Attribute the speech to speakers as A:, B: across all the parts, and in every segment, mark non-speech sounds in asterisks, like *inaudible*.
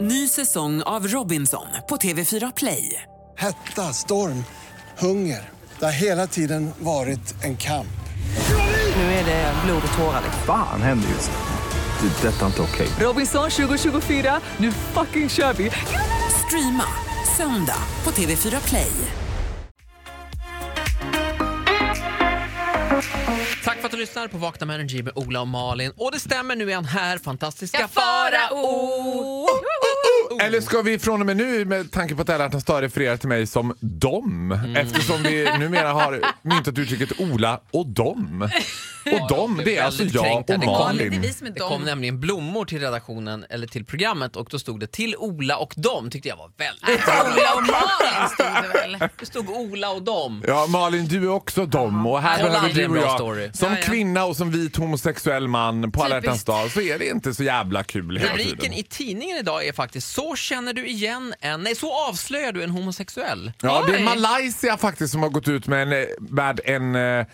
A: Ny säsong av Robinson på TV4 Play.
B: Hetta, storm, hunger. Det har hela tiden varit en kamp.
A: Nu är det blod och tårar.
C: Fan händer just nu. Det. är Detta är inte okej.
A: Robinson 2024, nu fucking kör vi! Streama söndag på TV4 Play.
D: Tack för att du lyssnar på Vakna med Energy med Ola och Malin. Och det stämmer, nu är han här, fantastiska
E: Ja, Farao!
D: Farao!
F: Eller ska vi från och med nu, med tanke på att alla hjärtans dag refererar till mig som dom
D: Mm.
F: eftersom vi numera har myntat uttrycket Ola och dom. Och dom, det är alltså
D: väldigt
F: jag
D: kränkta.
F: och
D: Det kom-
E: Det är
F: Malin.
E: vi som är
D: Det kom
E: dom.
D: nämligen blommor till redaktionen, eller till programmet och då stod det till Ola och dem, tyckte jag var väldigt
E: Äh, Ola och Malin stod det väl?
D: Det stod Ola och dem.
F: Ja, Malin, du är också dom och här
D: Det var
F: behöver
D: aldrig
F: du
D: en
F: och
D: bra
F: jag.
D: story.
F: Som
E: Ja, ja.
F: kvinna och som vit homosexuell man på alla
E: Typiskt.
F: hjärtans dag så är det inte så jävla kul hela
D: Rubriken
F: tiden.
D: i tidningen idag är faktiskt “Så känner du igen en...” Nej, “Så avslöjar du en homosexuell”.
F: Ja, det är
E: Oj.
F: Malaysia faktiskt som har gått ut med en, eh, med en eh,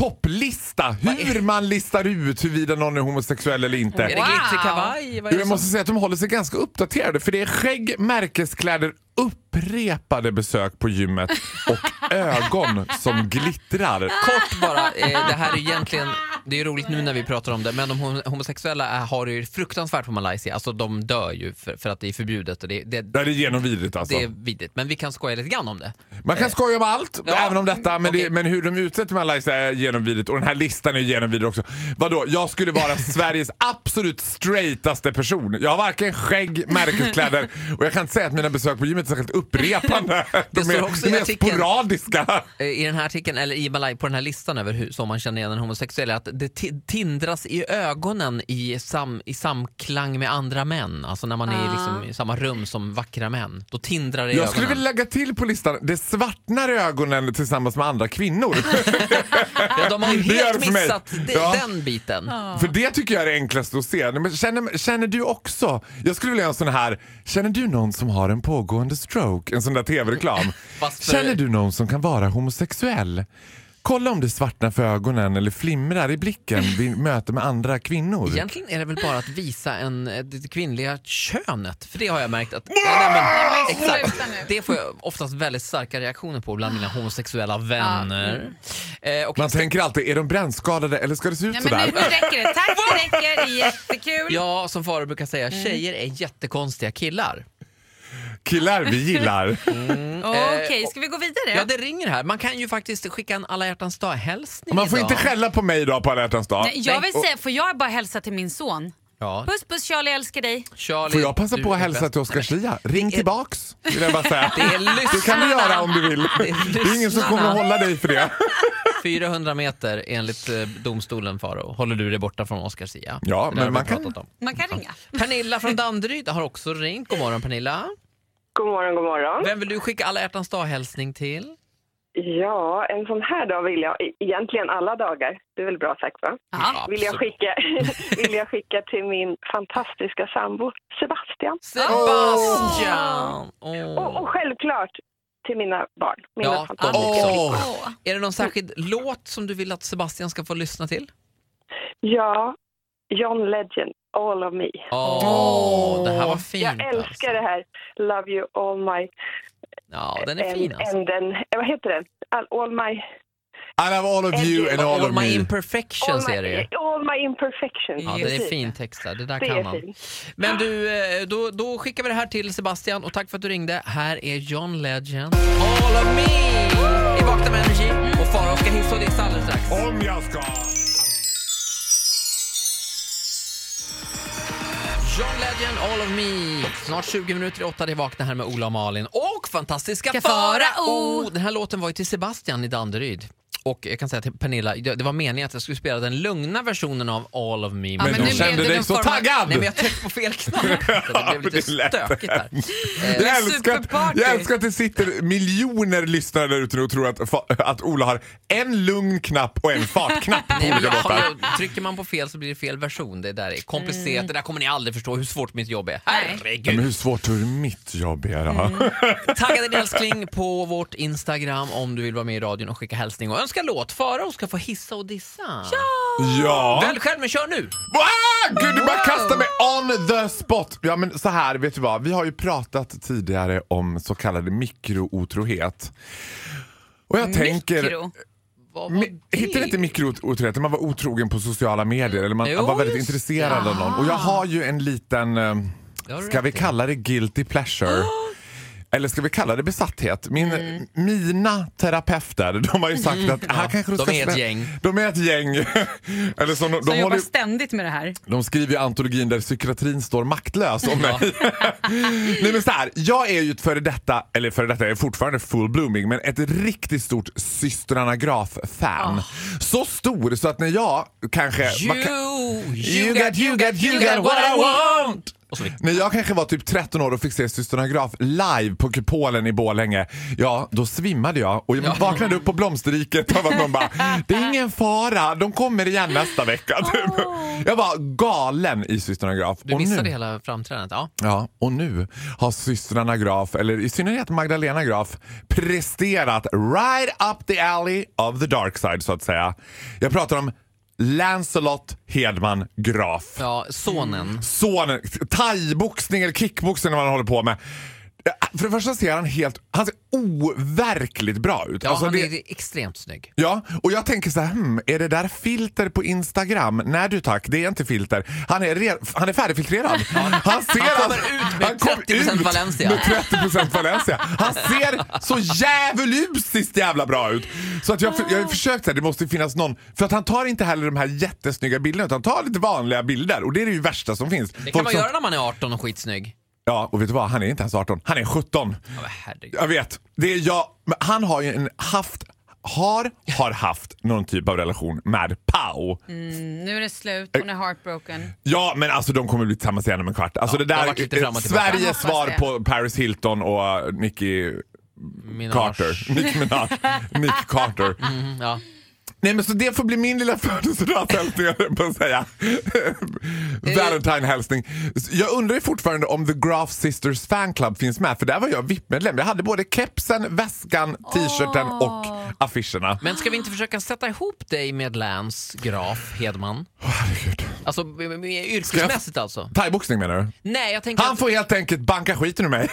F: topplista. Hur man listar ut huruvida någon är homosexuell eller inte.
D: Är det
E: Wow.
D: glittrig kavaj? Vad
F: Jo,
D: är det
F: jag
D: som-
F: måste säga att de håller sig ganska uppdaterade för det är skägg, märkeskläder, upprepade besök på gymmet
D: *laughs*
F: och ögon som glittrar.
D: Kort bara, eh, det här är egentligen, det är roligt nu när vi pratar om det, men de hom- homosexuella är, har det ju fruktansvärt på Malaysia. Alltså de dör ju för, för att det är förbjudet och det, det,
F: Det här är genomvidrigt alltså.
D: det är vidrigt. Men vi kan skoja lite grann om det.
F: Man kan skoja om allt,
D: Ja,
F: även om detta, men,
D: okej.
F: det, men hur de utsätter Malaysia är genomvidrigt och den här listan är genomvidrig också. Vadå, jag
D: *laughs*
F: skulle vara Sveriges absolut straightaste person. Jag har varken
D: *laughs*
F: skägg, märkeskläder och jag kan inte säga att mina besök på gymmet är särskilt upprepande. De
D: står
F: är,
D: också i
F: de är
D: artikeln.
F: sporadiska.
D: Eh, I den här artikeln, eller i Malay, på den här listan över hur som man känner igen en homosexuell, är att det ti- tindras i ögonen i, sam, i samklang med andra män. Alltså när man är liksom i samma rum som vackra män. Då tindrar det i
F: Ah. Jag skulle
D: ögonen.
F: vilja lägga till på listan, det svartnar i ögonen tillsammans med andra
E: *laughs*
F: kvinnor.
D: ja, de har ju
F: *laughs* Det gör
D: helt
F: det för mig.
D: missat de,
F: Ja.
D: den biten.
F: För det tycker jag är det enklaste att se. Nej, Men känner, känner du också, jag skulle vilja ha en sån här, känner du någon som har en pågående stroke? En sån där
E: *laughs*
F: tv-reklam.
D: Fast för-
F: Känner du någon som kan vara homosexuell? Kolla om det svartnar för ögonen eller flimrar i
E: *laughs*
F: blicken vid möte med andra kvinnor.
D: Egentligen är det väl bara att visa en, eh, det kvinnliga könet, för det har jag märkt att... Nej, nej, men, exakt,
E: Sluta nu.
D: det får jag oftast väldigt starka reaktioner på bland mina homosexuella vänner. Eh, och
F: Mm. Man tänker alltid, är de brännskadade eller ska det se ut
E: Nej, men
F: sådär?
E: nu räcker det. Tack, det räcker. Jättekul.
D: ja, som Farao brukar säga, tjejer är jättekonstiga killar.
F: Killar, vi
E: *laughs*
F: gillar.
E: Okej, ska vi gå vidare?
D: eh, Ja, det ringer här. Man kan ju faktiskt skicka en alla hjärtans dag-hälsning
F: Man får
D: idag.
F: inte skälla på mig idag på alla hjärtans dag.
E: Nej, Eh, jag vill
D: Nej.
E: säga, får jag bara hälsa till min son?
D: Ja,
E: Puss puss Charlie, jag älskar dig.
D: Charlie,
F: Får jag passa
D: du
F: på att
D: är
F: hälsa
D: bäst.
F: till Oskarslia? Ring tillbaks, vill jag bara säga.
D: *laughs* Det är lyssnarna.
F: Det kan du göra om du vill.
D: Det
F: Det
D: är
F: är ingen som kommer att hålla dig för det.
D: 400 meter enligt eh, domstolen, Farao, håller du dig borta från Oscarsia. Det där
F: Ja, men
D: har vi
F: man kan-
D: pratat om.
E: Man kan ringa.
D: Pernilla från Danderyd har också ringt. God morgon Pernilla.
G: God morgon, god morgon.
D: Vem vill du skicka alla hjärtans dag-hälsning till?
G: Ja, en sån här dag vill jag, e- egentligen alla dagar, det är väl bra sagt va?
E: Ja.
G: Vill jag,
D: *laughs*
G: skicka, vill jag skicka till min fantastiska sambo Sebastian.
D: Sebastian!
G: Och,
D: Åh.
G: och självklart till mina barn. Mina
D: Ja,
G: fantastiska.
D: de också.
F: Åh,
E: Åh.
D: Är det någon särskild låt som du vill att Sebastian ska få lyssna till?
G: Ja, John Legend, All of Me.
D: Åh, det här var fint.
G: Jag älskar
D: alltså.
G: det här Love You All My...
D: Ja, den är
G: and-
D: fin alltså.
G: and then- eh, vad heter den? All, all My...
F: I love all of you and all
D: All
F: of
D: my
F: me.
D: imperfections
G: All
D: är det ju.
G: my, all my Imperfections.
D: Ja, det är
G: Precis.
D: fin text där. Det där
G: Det
D: kan
G: är
D: man.
G: fint.
D: Men du, eh, då, då skickar vi det här till Sebastian och tack för att du ringde. Här är John Legend. All of me! I Vakna med Energy. Och Farao ska hissa och dissa alldeles strax.
F: Om jag ska.
D: John Legend, All of Me. Snart 20 minuter i åtta, det är Vakna här med Ola och Malin. Och fantastiska
E: Ska
D: Farao!
E: Farao!
D: Den här låten var ju till Sebastian i Danderyd. Och jag kan säga till Pernilla, det det var meningen att jag skulle spela den lugna versionen av All of Me.
F: Men
E: men
F: då
E: nu blev
F: kände
E: det
F: dig
E: någon
F: så
E: form av-
F: taggad.
D: Nej men jag tryckte på fel
F: *laughs*
D: knapp. Så Det blev lite
F: Det lät
D: stökigt där. Eh,
F: *laughs* Jag älskar, att,
E: superparty.
F: jag älskar att det sitter miljoner lyssnare där ute nu och tror att, fa- att Ola har en lugn knapp och en fartknapp på
D: Nej, men
F: olika
D: jag,
F: låtar.
D: har- trycker man på fel så blir det fel version. Det där är komplicerat.
F: Mm.
D: Det där kommer ni aldrig förstå hur svårt mitt jobb är.
E: Nej.
F: Ja,
D: Herregud.
F: Men hur svårt tror du mitt jobb är då?
D: Mm. Tagga din älskling på vårt Instagram om du vill vara med i radion och skicka hälsning och önska låt. Farao ska få hissa och dissa. Ja!
F: *laughs* Ja.
D: Välj själv men kör nu!
F: Ah, gud, du bara kastar mig on the spot! Ja, men så här, vet du vad? Vi har ju pratat tidigare om så kallad mikrootrohet. Och jag tänker...
E: Mikro.
D: Vad var
F: Mi- Hittar ni inte mikrootrohet när man var otrogen på sociala medier eller man
D: Jo,
F: var väldigt
D: just-
F: intresserad av någon? Och jag har ju en liten, eh,
D: Det har du
F: ska vi
D: rätt i.
F: kalla det
D: *gasps*
F: guilty pleasure? Eller ska vi kalla det besatthet? Min,
D: Mm.
F: Mina terapeuter, de har ju sagt att... här kanske du
D: de
F: ska
D: är ett
F: slä-
D: gäng.
F: De är ett gäng. *laughs* eller som de,
E: Som
F: de,
E: jobbar
F: håller, ju-
E: ständigt med det här.
F: de skriver ju antologin där psykiatrin står maktlös om mig. *laughs* Nej men så här, jag är ju ett före detta, eller före detta, jag är fortfarande full blooming, men ett riktigt stort systrarna Graf-fan. Så stor så att när jag kanske...
D: You,
F: man kan-
D: Oh, you got, you got, you got what I want! Och så vidare.
F: när jag kanske var typ 13 år och fick se systrarna Graf live på Kupolen i Borlänge, ja då svimmade jag och jag vaknade upp på blomsterriket av att någon bara “Det är ingen fara, de kommer igen nästa vecka”. Typ. Jag var galen i systrarna Graf.
D: Du
F: Och
D: missade
F: nu-
D: hela framträdandet. Ja.
F: Ja, och nu har systrarna Graf, eller i synnerhet Magdalena Graf, presterat right up the alley of the dark side så att säga. Jag pratar om Lancelot Hedman Graf.
D: ja, sonen.
F: Mm. Sonen, thaiboxning eller kickboxning eller vad han håller på med. För det första ser han helt, han ser overkligt bra ut.
D: Ja,
F: Alltså,
D: han
F: det-
D: är extremt snygg.
F: Ja, och jag tänker så här, hmm, är det där filter på Instagram? Nej du tack, det är inte filter. Han är, re- han är färdigfiltrerad. Han, ser
D: Han kommer
F: alltså-
D: ut med
F: han kom
D: 30%
F: ut
D: Valencia.
F: Med 30% Valencia.
D: *laughs*
F: Han ser så djävulusiskt jävla bra ut. Så att jag, för- jag har försökt säga, det måste ju finnas någon, för att han tar inte heller de här jättesnygga bilderna utan han tar lite vanliga bilder och det är det ju värsta som finns.
D: Det kan
F: Folk
D: man
F: som,
D: göra när man är 18 och skitsnygg.
F: Ja, och vet du vad? Han är inte ens 18, han är 17.
D: Ja, men herregud.
F: Jag vet. Det är jag, men han har ju en haft, har, har haft någon typ av relation med Pau.
E: Nu är det slut, hon är heartbroken.
F: Ja, men alltså de kommer bli tillsammans igen om en kvart. Alltså
D: Ja,
F: det
D: det har
F: där
D: varit lite
F: är
D: fram och tillbaka.
E: Jag
F: Sveriges
E: hoppas
F: svar
E: det.
F: på Paris Hilton och eh, Nicki
D: Minaj. *laughs*
F: Carter. Nick Minaj. Nick Carter.
D: Mm, ja.
F: Nej men så det får bli min lilla födelsedagshälsning höll jag på att säga.
E: Eh.
F: Valentine-hälsning. Jag undrar ju fortfarande om The Graf Sisters fanclub finns med för där var jag VIP-medlem. Jag hade både kepsen, väskan, t-shirten och affischerna.
D: Men ska vi inte försöka sätta ihop dig med Lance Graf Hedman?
F: Åh, herregud.
D: Alltså m- m- yrkesmässigt alltså?
F: Thaiboxning menar du?
D: Nej, jag tänker
F: Han
D: att
F: får helt enkelt banka skiten ur mig.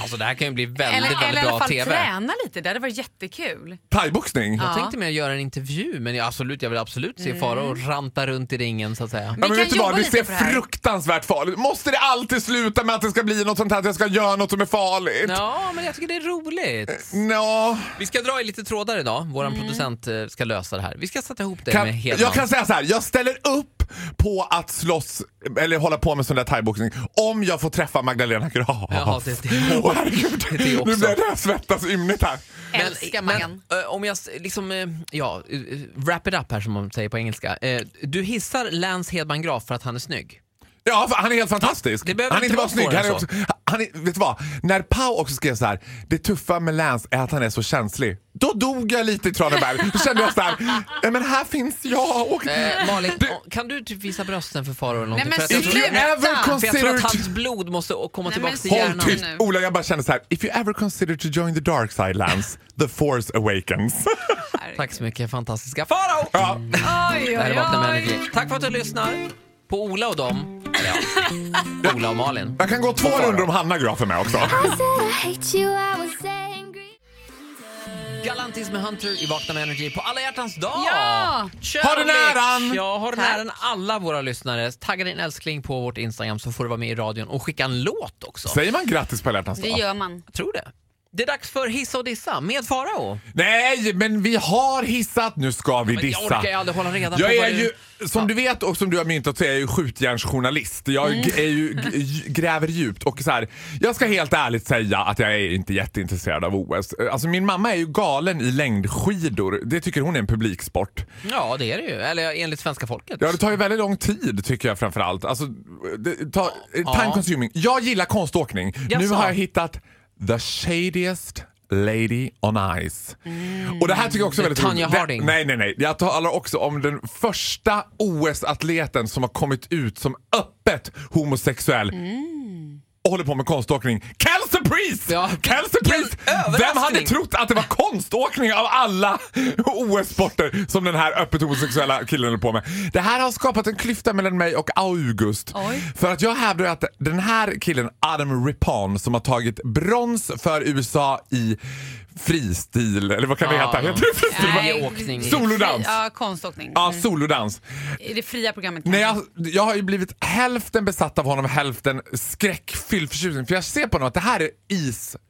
D: alltså, det här kan ju bli väldigt,
E: Eller,
D: väldigt
E: eller i alla
D: bra
E: fall
D: TV.
E: träna lite, det hade varit jättekul.
F: Thaiboxning?
D: Jag tänkte mer göra en intervju, men jag, absolut, jag vill absolut se fara och ranta runt i ringen så att säga.
F: Ja,
E: Mm. Vi
F: men
E: kan
F: vet du vad,
E: jobba
F: det
E: lite
F: ser
E: på det här.
F: fruktansvärt farligt Måste det alltid sluta med att det ska bli något sånt här att jag ska göra något som är farligt?
D: Ja, men jag tycker det är
F: Eh,
D: roligt.
F: mm. Nå.
D: Vi ska dra i lite trådar idag. Vår
E: Mm.
D: producent eh, ska lösa det här. Vi ska sätta ihop det
F: kan,
D: med Hedman.
F: jag kan säga så här, jag ställer upp på att slåss eller hålla på med sån där thaiboxning om jag får träffa Magdalena Graf.
D: Jaha, det- det-
F: *laughs* Åh, herregud.
D: det- det också.
F: Nu blir jag svettas ymnigt här.
E: Älskar Maggan.
D: eh, om jag s- liksom, eh, ja, eh, wrap it up här som man säger på engelska. Eh, du hissar Lance Hedman Graf för att han är snygg.
F: Ja, för han är helt fantastisk.
D: Det behöver
F: han är
D: inte
F: inte bara
D: vara
F: snygg. Han är
D: svårare
F: också, han är, vet du vad? När Pau också skrev så här, det tuffa med Lance är att han är så känslig. Då dog jag lite i Traneberg. Då kände jag så här, "Nej, men här finns jag. Och,
E: *laughs*
D: Eh, Malin, oh, kan du typ visa brösten för Faro eller någonting?
E: men
D: för, att jag
F: If
D: tror,
E: sluta.
F: you ever
E: Sluta.
D: för jag tror
F: consider
D: att
F: to
D: hans blod måste å- komma
E: Nej,
D: tillbaka
E: men
D: till
E: sluta.
F: Håll
D: hjärnan.
F: tyst!
E: nu.
F: Ola, jag bara känner så här. If you ever consider to join the dark side, Lance, the force awakens. *laughs*
D: Tack så mycket fantastiska Faro!
F: ja.
E: Oj,
D: Det här är
E: oj,
D: Vakna med
E: oj.
D: energi. Tack för att du lyssnar på Ola och dem. Eller Ja, *laughs* Ola och Malin.
F: Jag kan gå två runder om Hanna Graf är med
D: *laughs*
F: också.
H: I said I hate you, I was angry.
D: Galantis med Hunter i Vakna med Energy på alla hjärtans dag!
E: Ja!
D: Kärlek.
F: Har den äran!
D: Ja, har den
E: Tack.
D: äran alla våra lyssnare. Tagga din älskling på vårt Instagram så får du vara med i radion och skicka en låt också.
F: Säger man grattis på alla hjärtans
E: Det
F: dag?
E: gör man.
D: Jag tror det. Det är dags för Hissa och Dissa med Farao.
F: Nej, men vi har hissat. Nu ska vi
D: Men jag
F: dissa.
D: orkar ju aldrig hålla reda
F: Jag
D: på vad
F: är ju, som du vet och som du har myntat så är jag ju skjutjärnsjournalist. Jag
D: Mm.
F: g- är ju, g- j- gräver djupt och så här, jag ska helt ärligt säga att jag är inte jätteintresserad av OS. Alltså min mamma är ju galen i längdskidor. Det tycker hon är en publiksport.
D: Ja, det är det ju. Eller enligt svenska folket.
F: Ja, det tar ju väldigt lång tid tycker jag framförallt. Alltså, det, ta,
D: Ja.
F: time consuming. Jag gillar konståkning. Nu
D: Jaså?
F: har jag hittat the shadiest lady on ice. Och det här tycker jag också är
D: Mm. Det är
F: väldigt
D: Tanya
F: Det-
D: Harding.
F: Nej, nej, nej. Jag talar också om den första OS-atleten som har kommit ut som öppet homosexuell och håller på med konståkning. Kelsey Priest!
D: Mm. Ja.
F: Kelce
D: Vilken
F: Priest! Vem
D: överraskning!
F: hade trott att det var konståkning av alla OS-sporter som den här öppet homosexuella killen höll på med? Det här har skapat en klyfta mellan mig och August.
E: Oj.
F: För att jag hävdar att den här killen, Adam Rippon, som har tagit brons för USA i fristil, eller vad kan det
D: Ja,
F: heta?
D: ja.
F: Heter det fristil?
D: Nej. Friåkning.
F: Solodans.
E: Ja, konståkning. Mm.
F: Ja, solodans.
E: I det fria programmet.
F: Nej, jag,
E: kanske.
F: jag har ju blivit hälften besatt av honom, hälften skräckfylld förtjusning. För jag ser på honom att det här är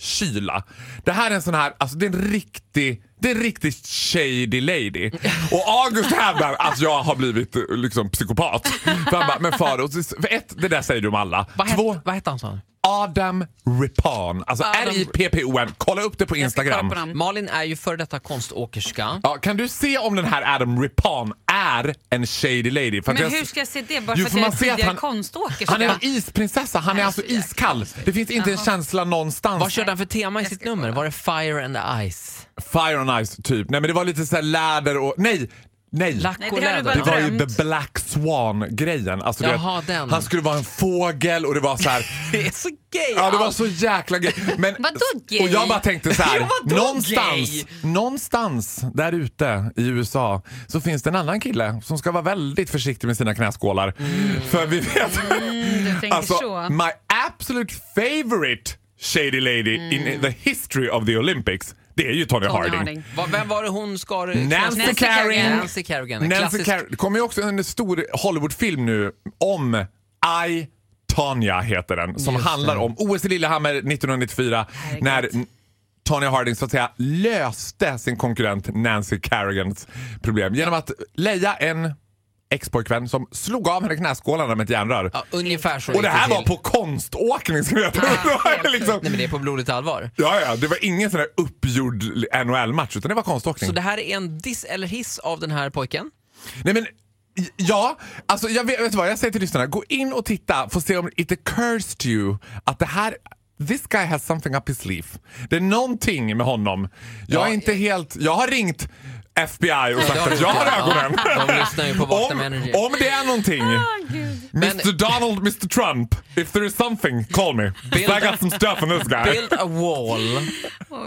F: iskyla. Det här är en sån här, alltså det är en riktig, det är en riktig shady lady. Och August hävdar att jag har blivit eh, liksom psykopat. För han bara, men faro, för ett, det där säger du om alla.
D: Vad
F: Två,
D: hette, vad hette han sa han?
F: Adam Rippon. Alltså
E: Adam-
F: R-I-P-P-O-N. Kolla upp det på
E: Jag ska kolla
F: Instagram.
E: på dem.
D: Malin är ju före detta konståkerska.
F: Ja, kan du se om den här Adam Rippon är en shady lady? För att
E: Men
F: jag-
E: hur ska jag se det? Bara
F: Jo,
E: för att
F: för
E: jag är
F: man ser att
E: tidigare
F: han-
E: konståkerska?
F: Han är en isprinsessa, han är alltså iskall. Det finns inte en känsla någonstans.
D: Vad körde han för tema i
E: Jag
D: sitt
E: ska
D: nummer?
E: kolla.
D: Var det Fire and the Ice?
F: Fire on Ice typ. Nej men det var lite såhär läder och... Nej! Nej!
D: Lack
E: Nej, det
D: och
E: har du
D: läder?
E: bara
F: det var ju
E: Drömt.
F: the Black Swan-grejen. Alltså, du
D: Jaha,
F: vet,
D: den.
F: Han skulle vara en fågel och det var så här.
D: *laughs* Det är så gay!
F: Ja, det var
D: allt.
F: så jäkla gay. Men,
E: Vadå gay?
F: Och jag bara tänkte så här.
D: Ja, vadå
F: någonstans,
D: gay?
F: någonstans där ute i USA så finns det en annan kille som ska vara väldigt försiktig med sina knäskålar. För vi vet...
E: Du tänker
F: Alltså,
E: så.
F: my absolute favorite shady lady in the history of the Olympics, det är ju Tony,
E: Tony
F: Harding.
E: Harding.
D: Va- Vem var det hon skar
F: Nancy,
E: Nancy
F: Kerrigan.
E: Kerrigan.
D: Nancy Kerrigan. en
F: Nancy
D: klassisk-
F: Kerrigan. Det kommer ju också en stor Hollywoodfilm nu om I, Tanya heter den, som
D: Just
F: handlar
D: det.
F: om OS i Lillehammer 1994 när N- Tanya Harding så att säga löste sin konkurrent Nancy Kerrigans problem genom att leja en expojkvän som slog av henne knäskålarna med ett järnrör.
D: Ja, ungefär så
F: Och det
D: gick
F: här var
D: till.
F: på konståkning ska *laughs* jag
E: helt sjukt.
F: liksom.
D: Nej men det är på blodigt allvar.
F: Ja, ja, det var ingen sån där uppgjord NHL-match utan det var konståkning.
D: Så det här är en diss eller hiss av den här pojken?
F: Nej men, j- ja. Alltså jag vet, vet du vad, jag säger till lyssnarna, gå in och titta, få se om it occurs to you att det här This guy has something up his sleeve. Det är någonting med honom. Jag
D: Ja,
F: är inte helt... Jag har ringt FBI och sagt
D: har du
F: att jag har
D: gjort, ja.
F: ögonen.
D: De lyssnar ju på Vakna med
F: om,
D: Energy.
F: om det är någonting. Mr Donald, Mr Trump, if there is something, call me. 'Cause I got some stuff on this guy.
D: Build a wall.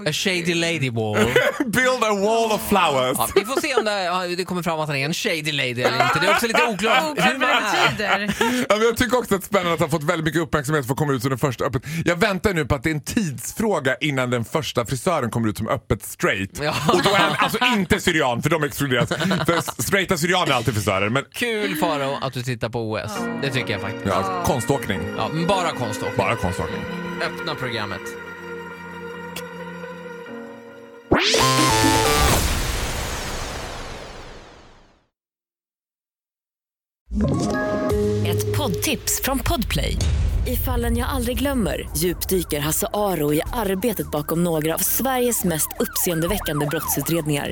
D: A shady lady wall.
F: *laughs* Build a wall of flowers.
D: Ja, vi får se om det, ja, det kommer fram att han är en shady lady eller inte. Det är också lite oklart
E: Oklart
D: hur
E: vad
D: man
E: det
D: är.
E: betyder.
F: Ja, men jag tycker också att det är spännande att han fått väldigt mycket uppmärksamhet för att komma ut som den första öppet. Jag väntar nu på att det är en tidsfråga innan den första frisören kommer ut som öppet straight.
D: Ja.
F: Och då är han alltså inte syrian, för de exkluderas. För straighta syrianer är alltid frisörer. Men
D: Kul Faro att du tittar på OS. Det tycker jag faktiskt.
F: ja, konståkning.
D: Ja, men bara konst och
F: Bara konståkning.
D: öppna programmet.
I: Ett poddtips från Podplay. I fallen jag aldrig glömmer djupdyker Hasse Aro i arbetet bakom några av Sveriges mest uppseendeväckande brottsutredningar.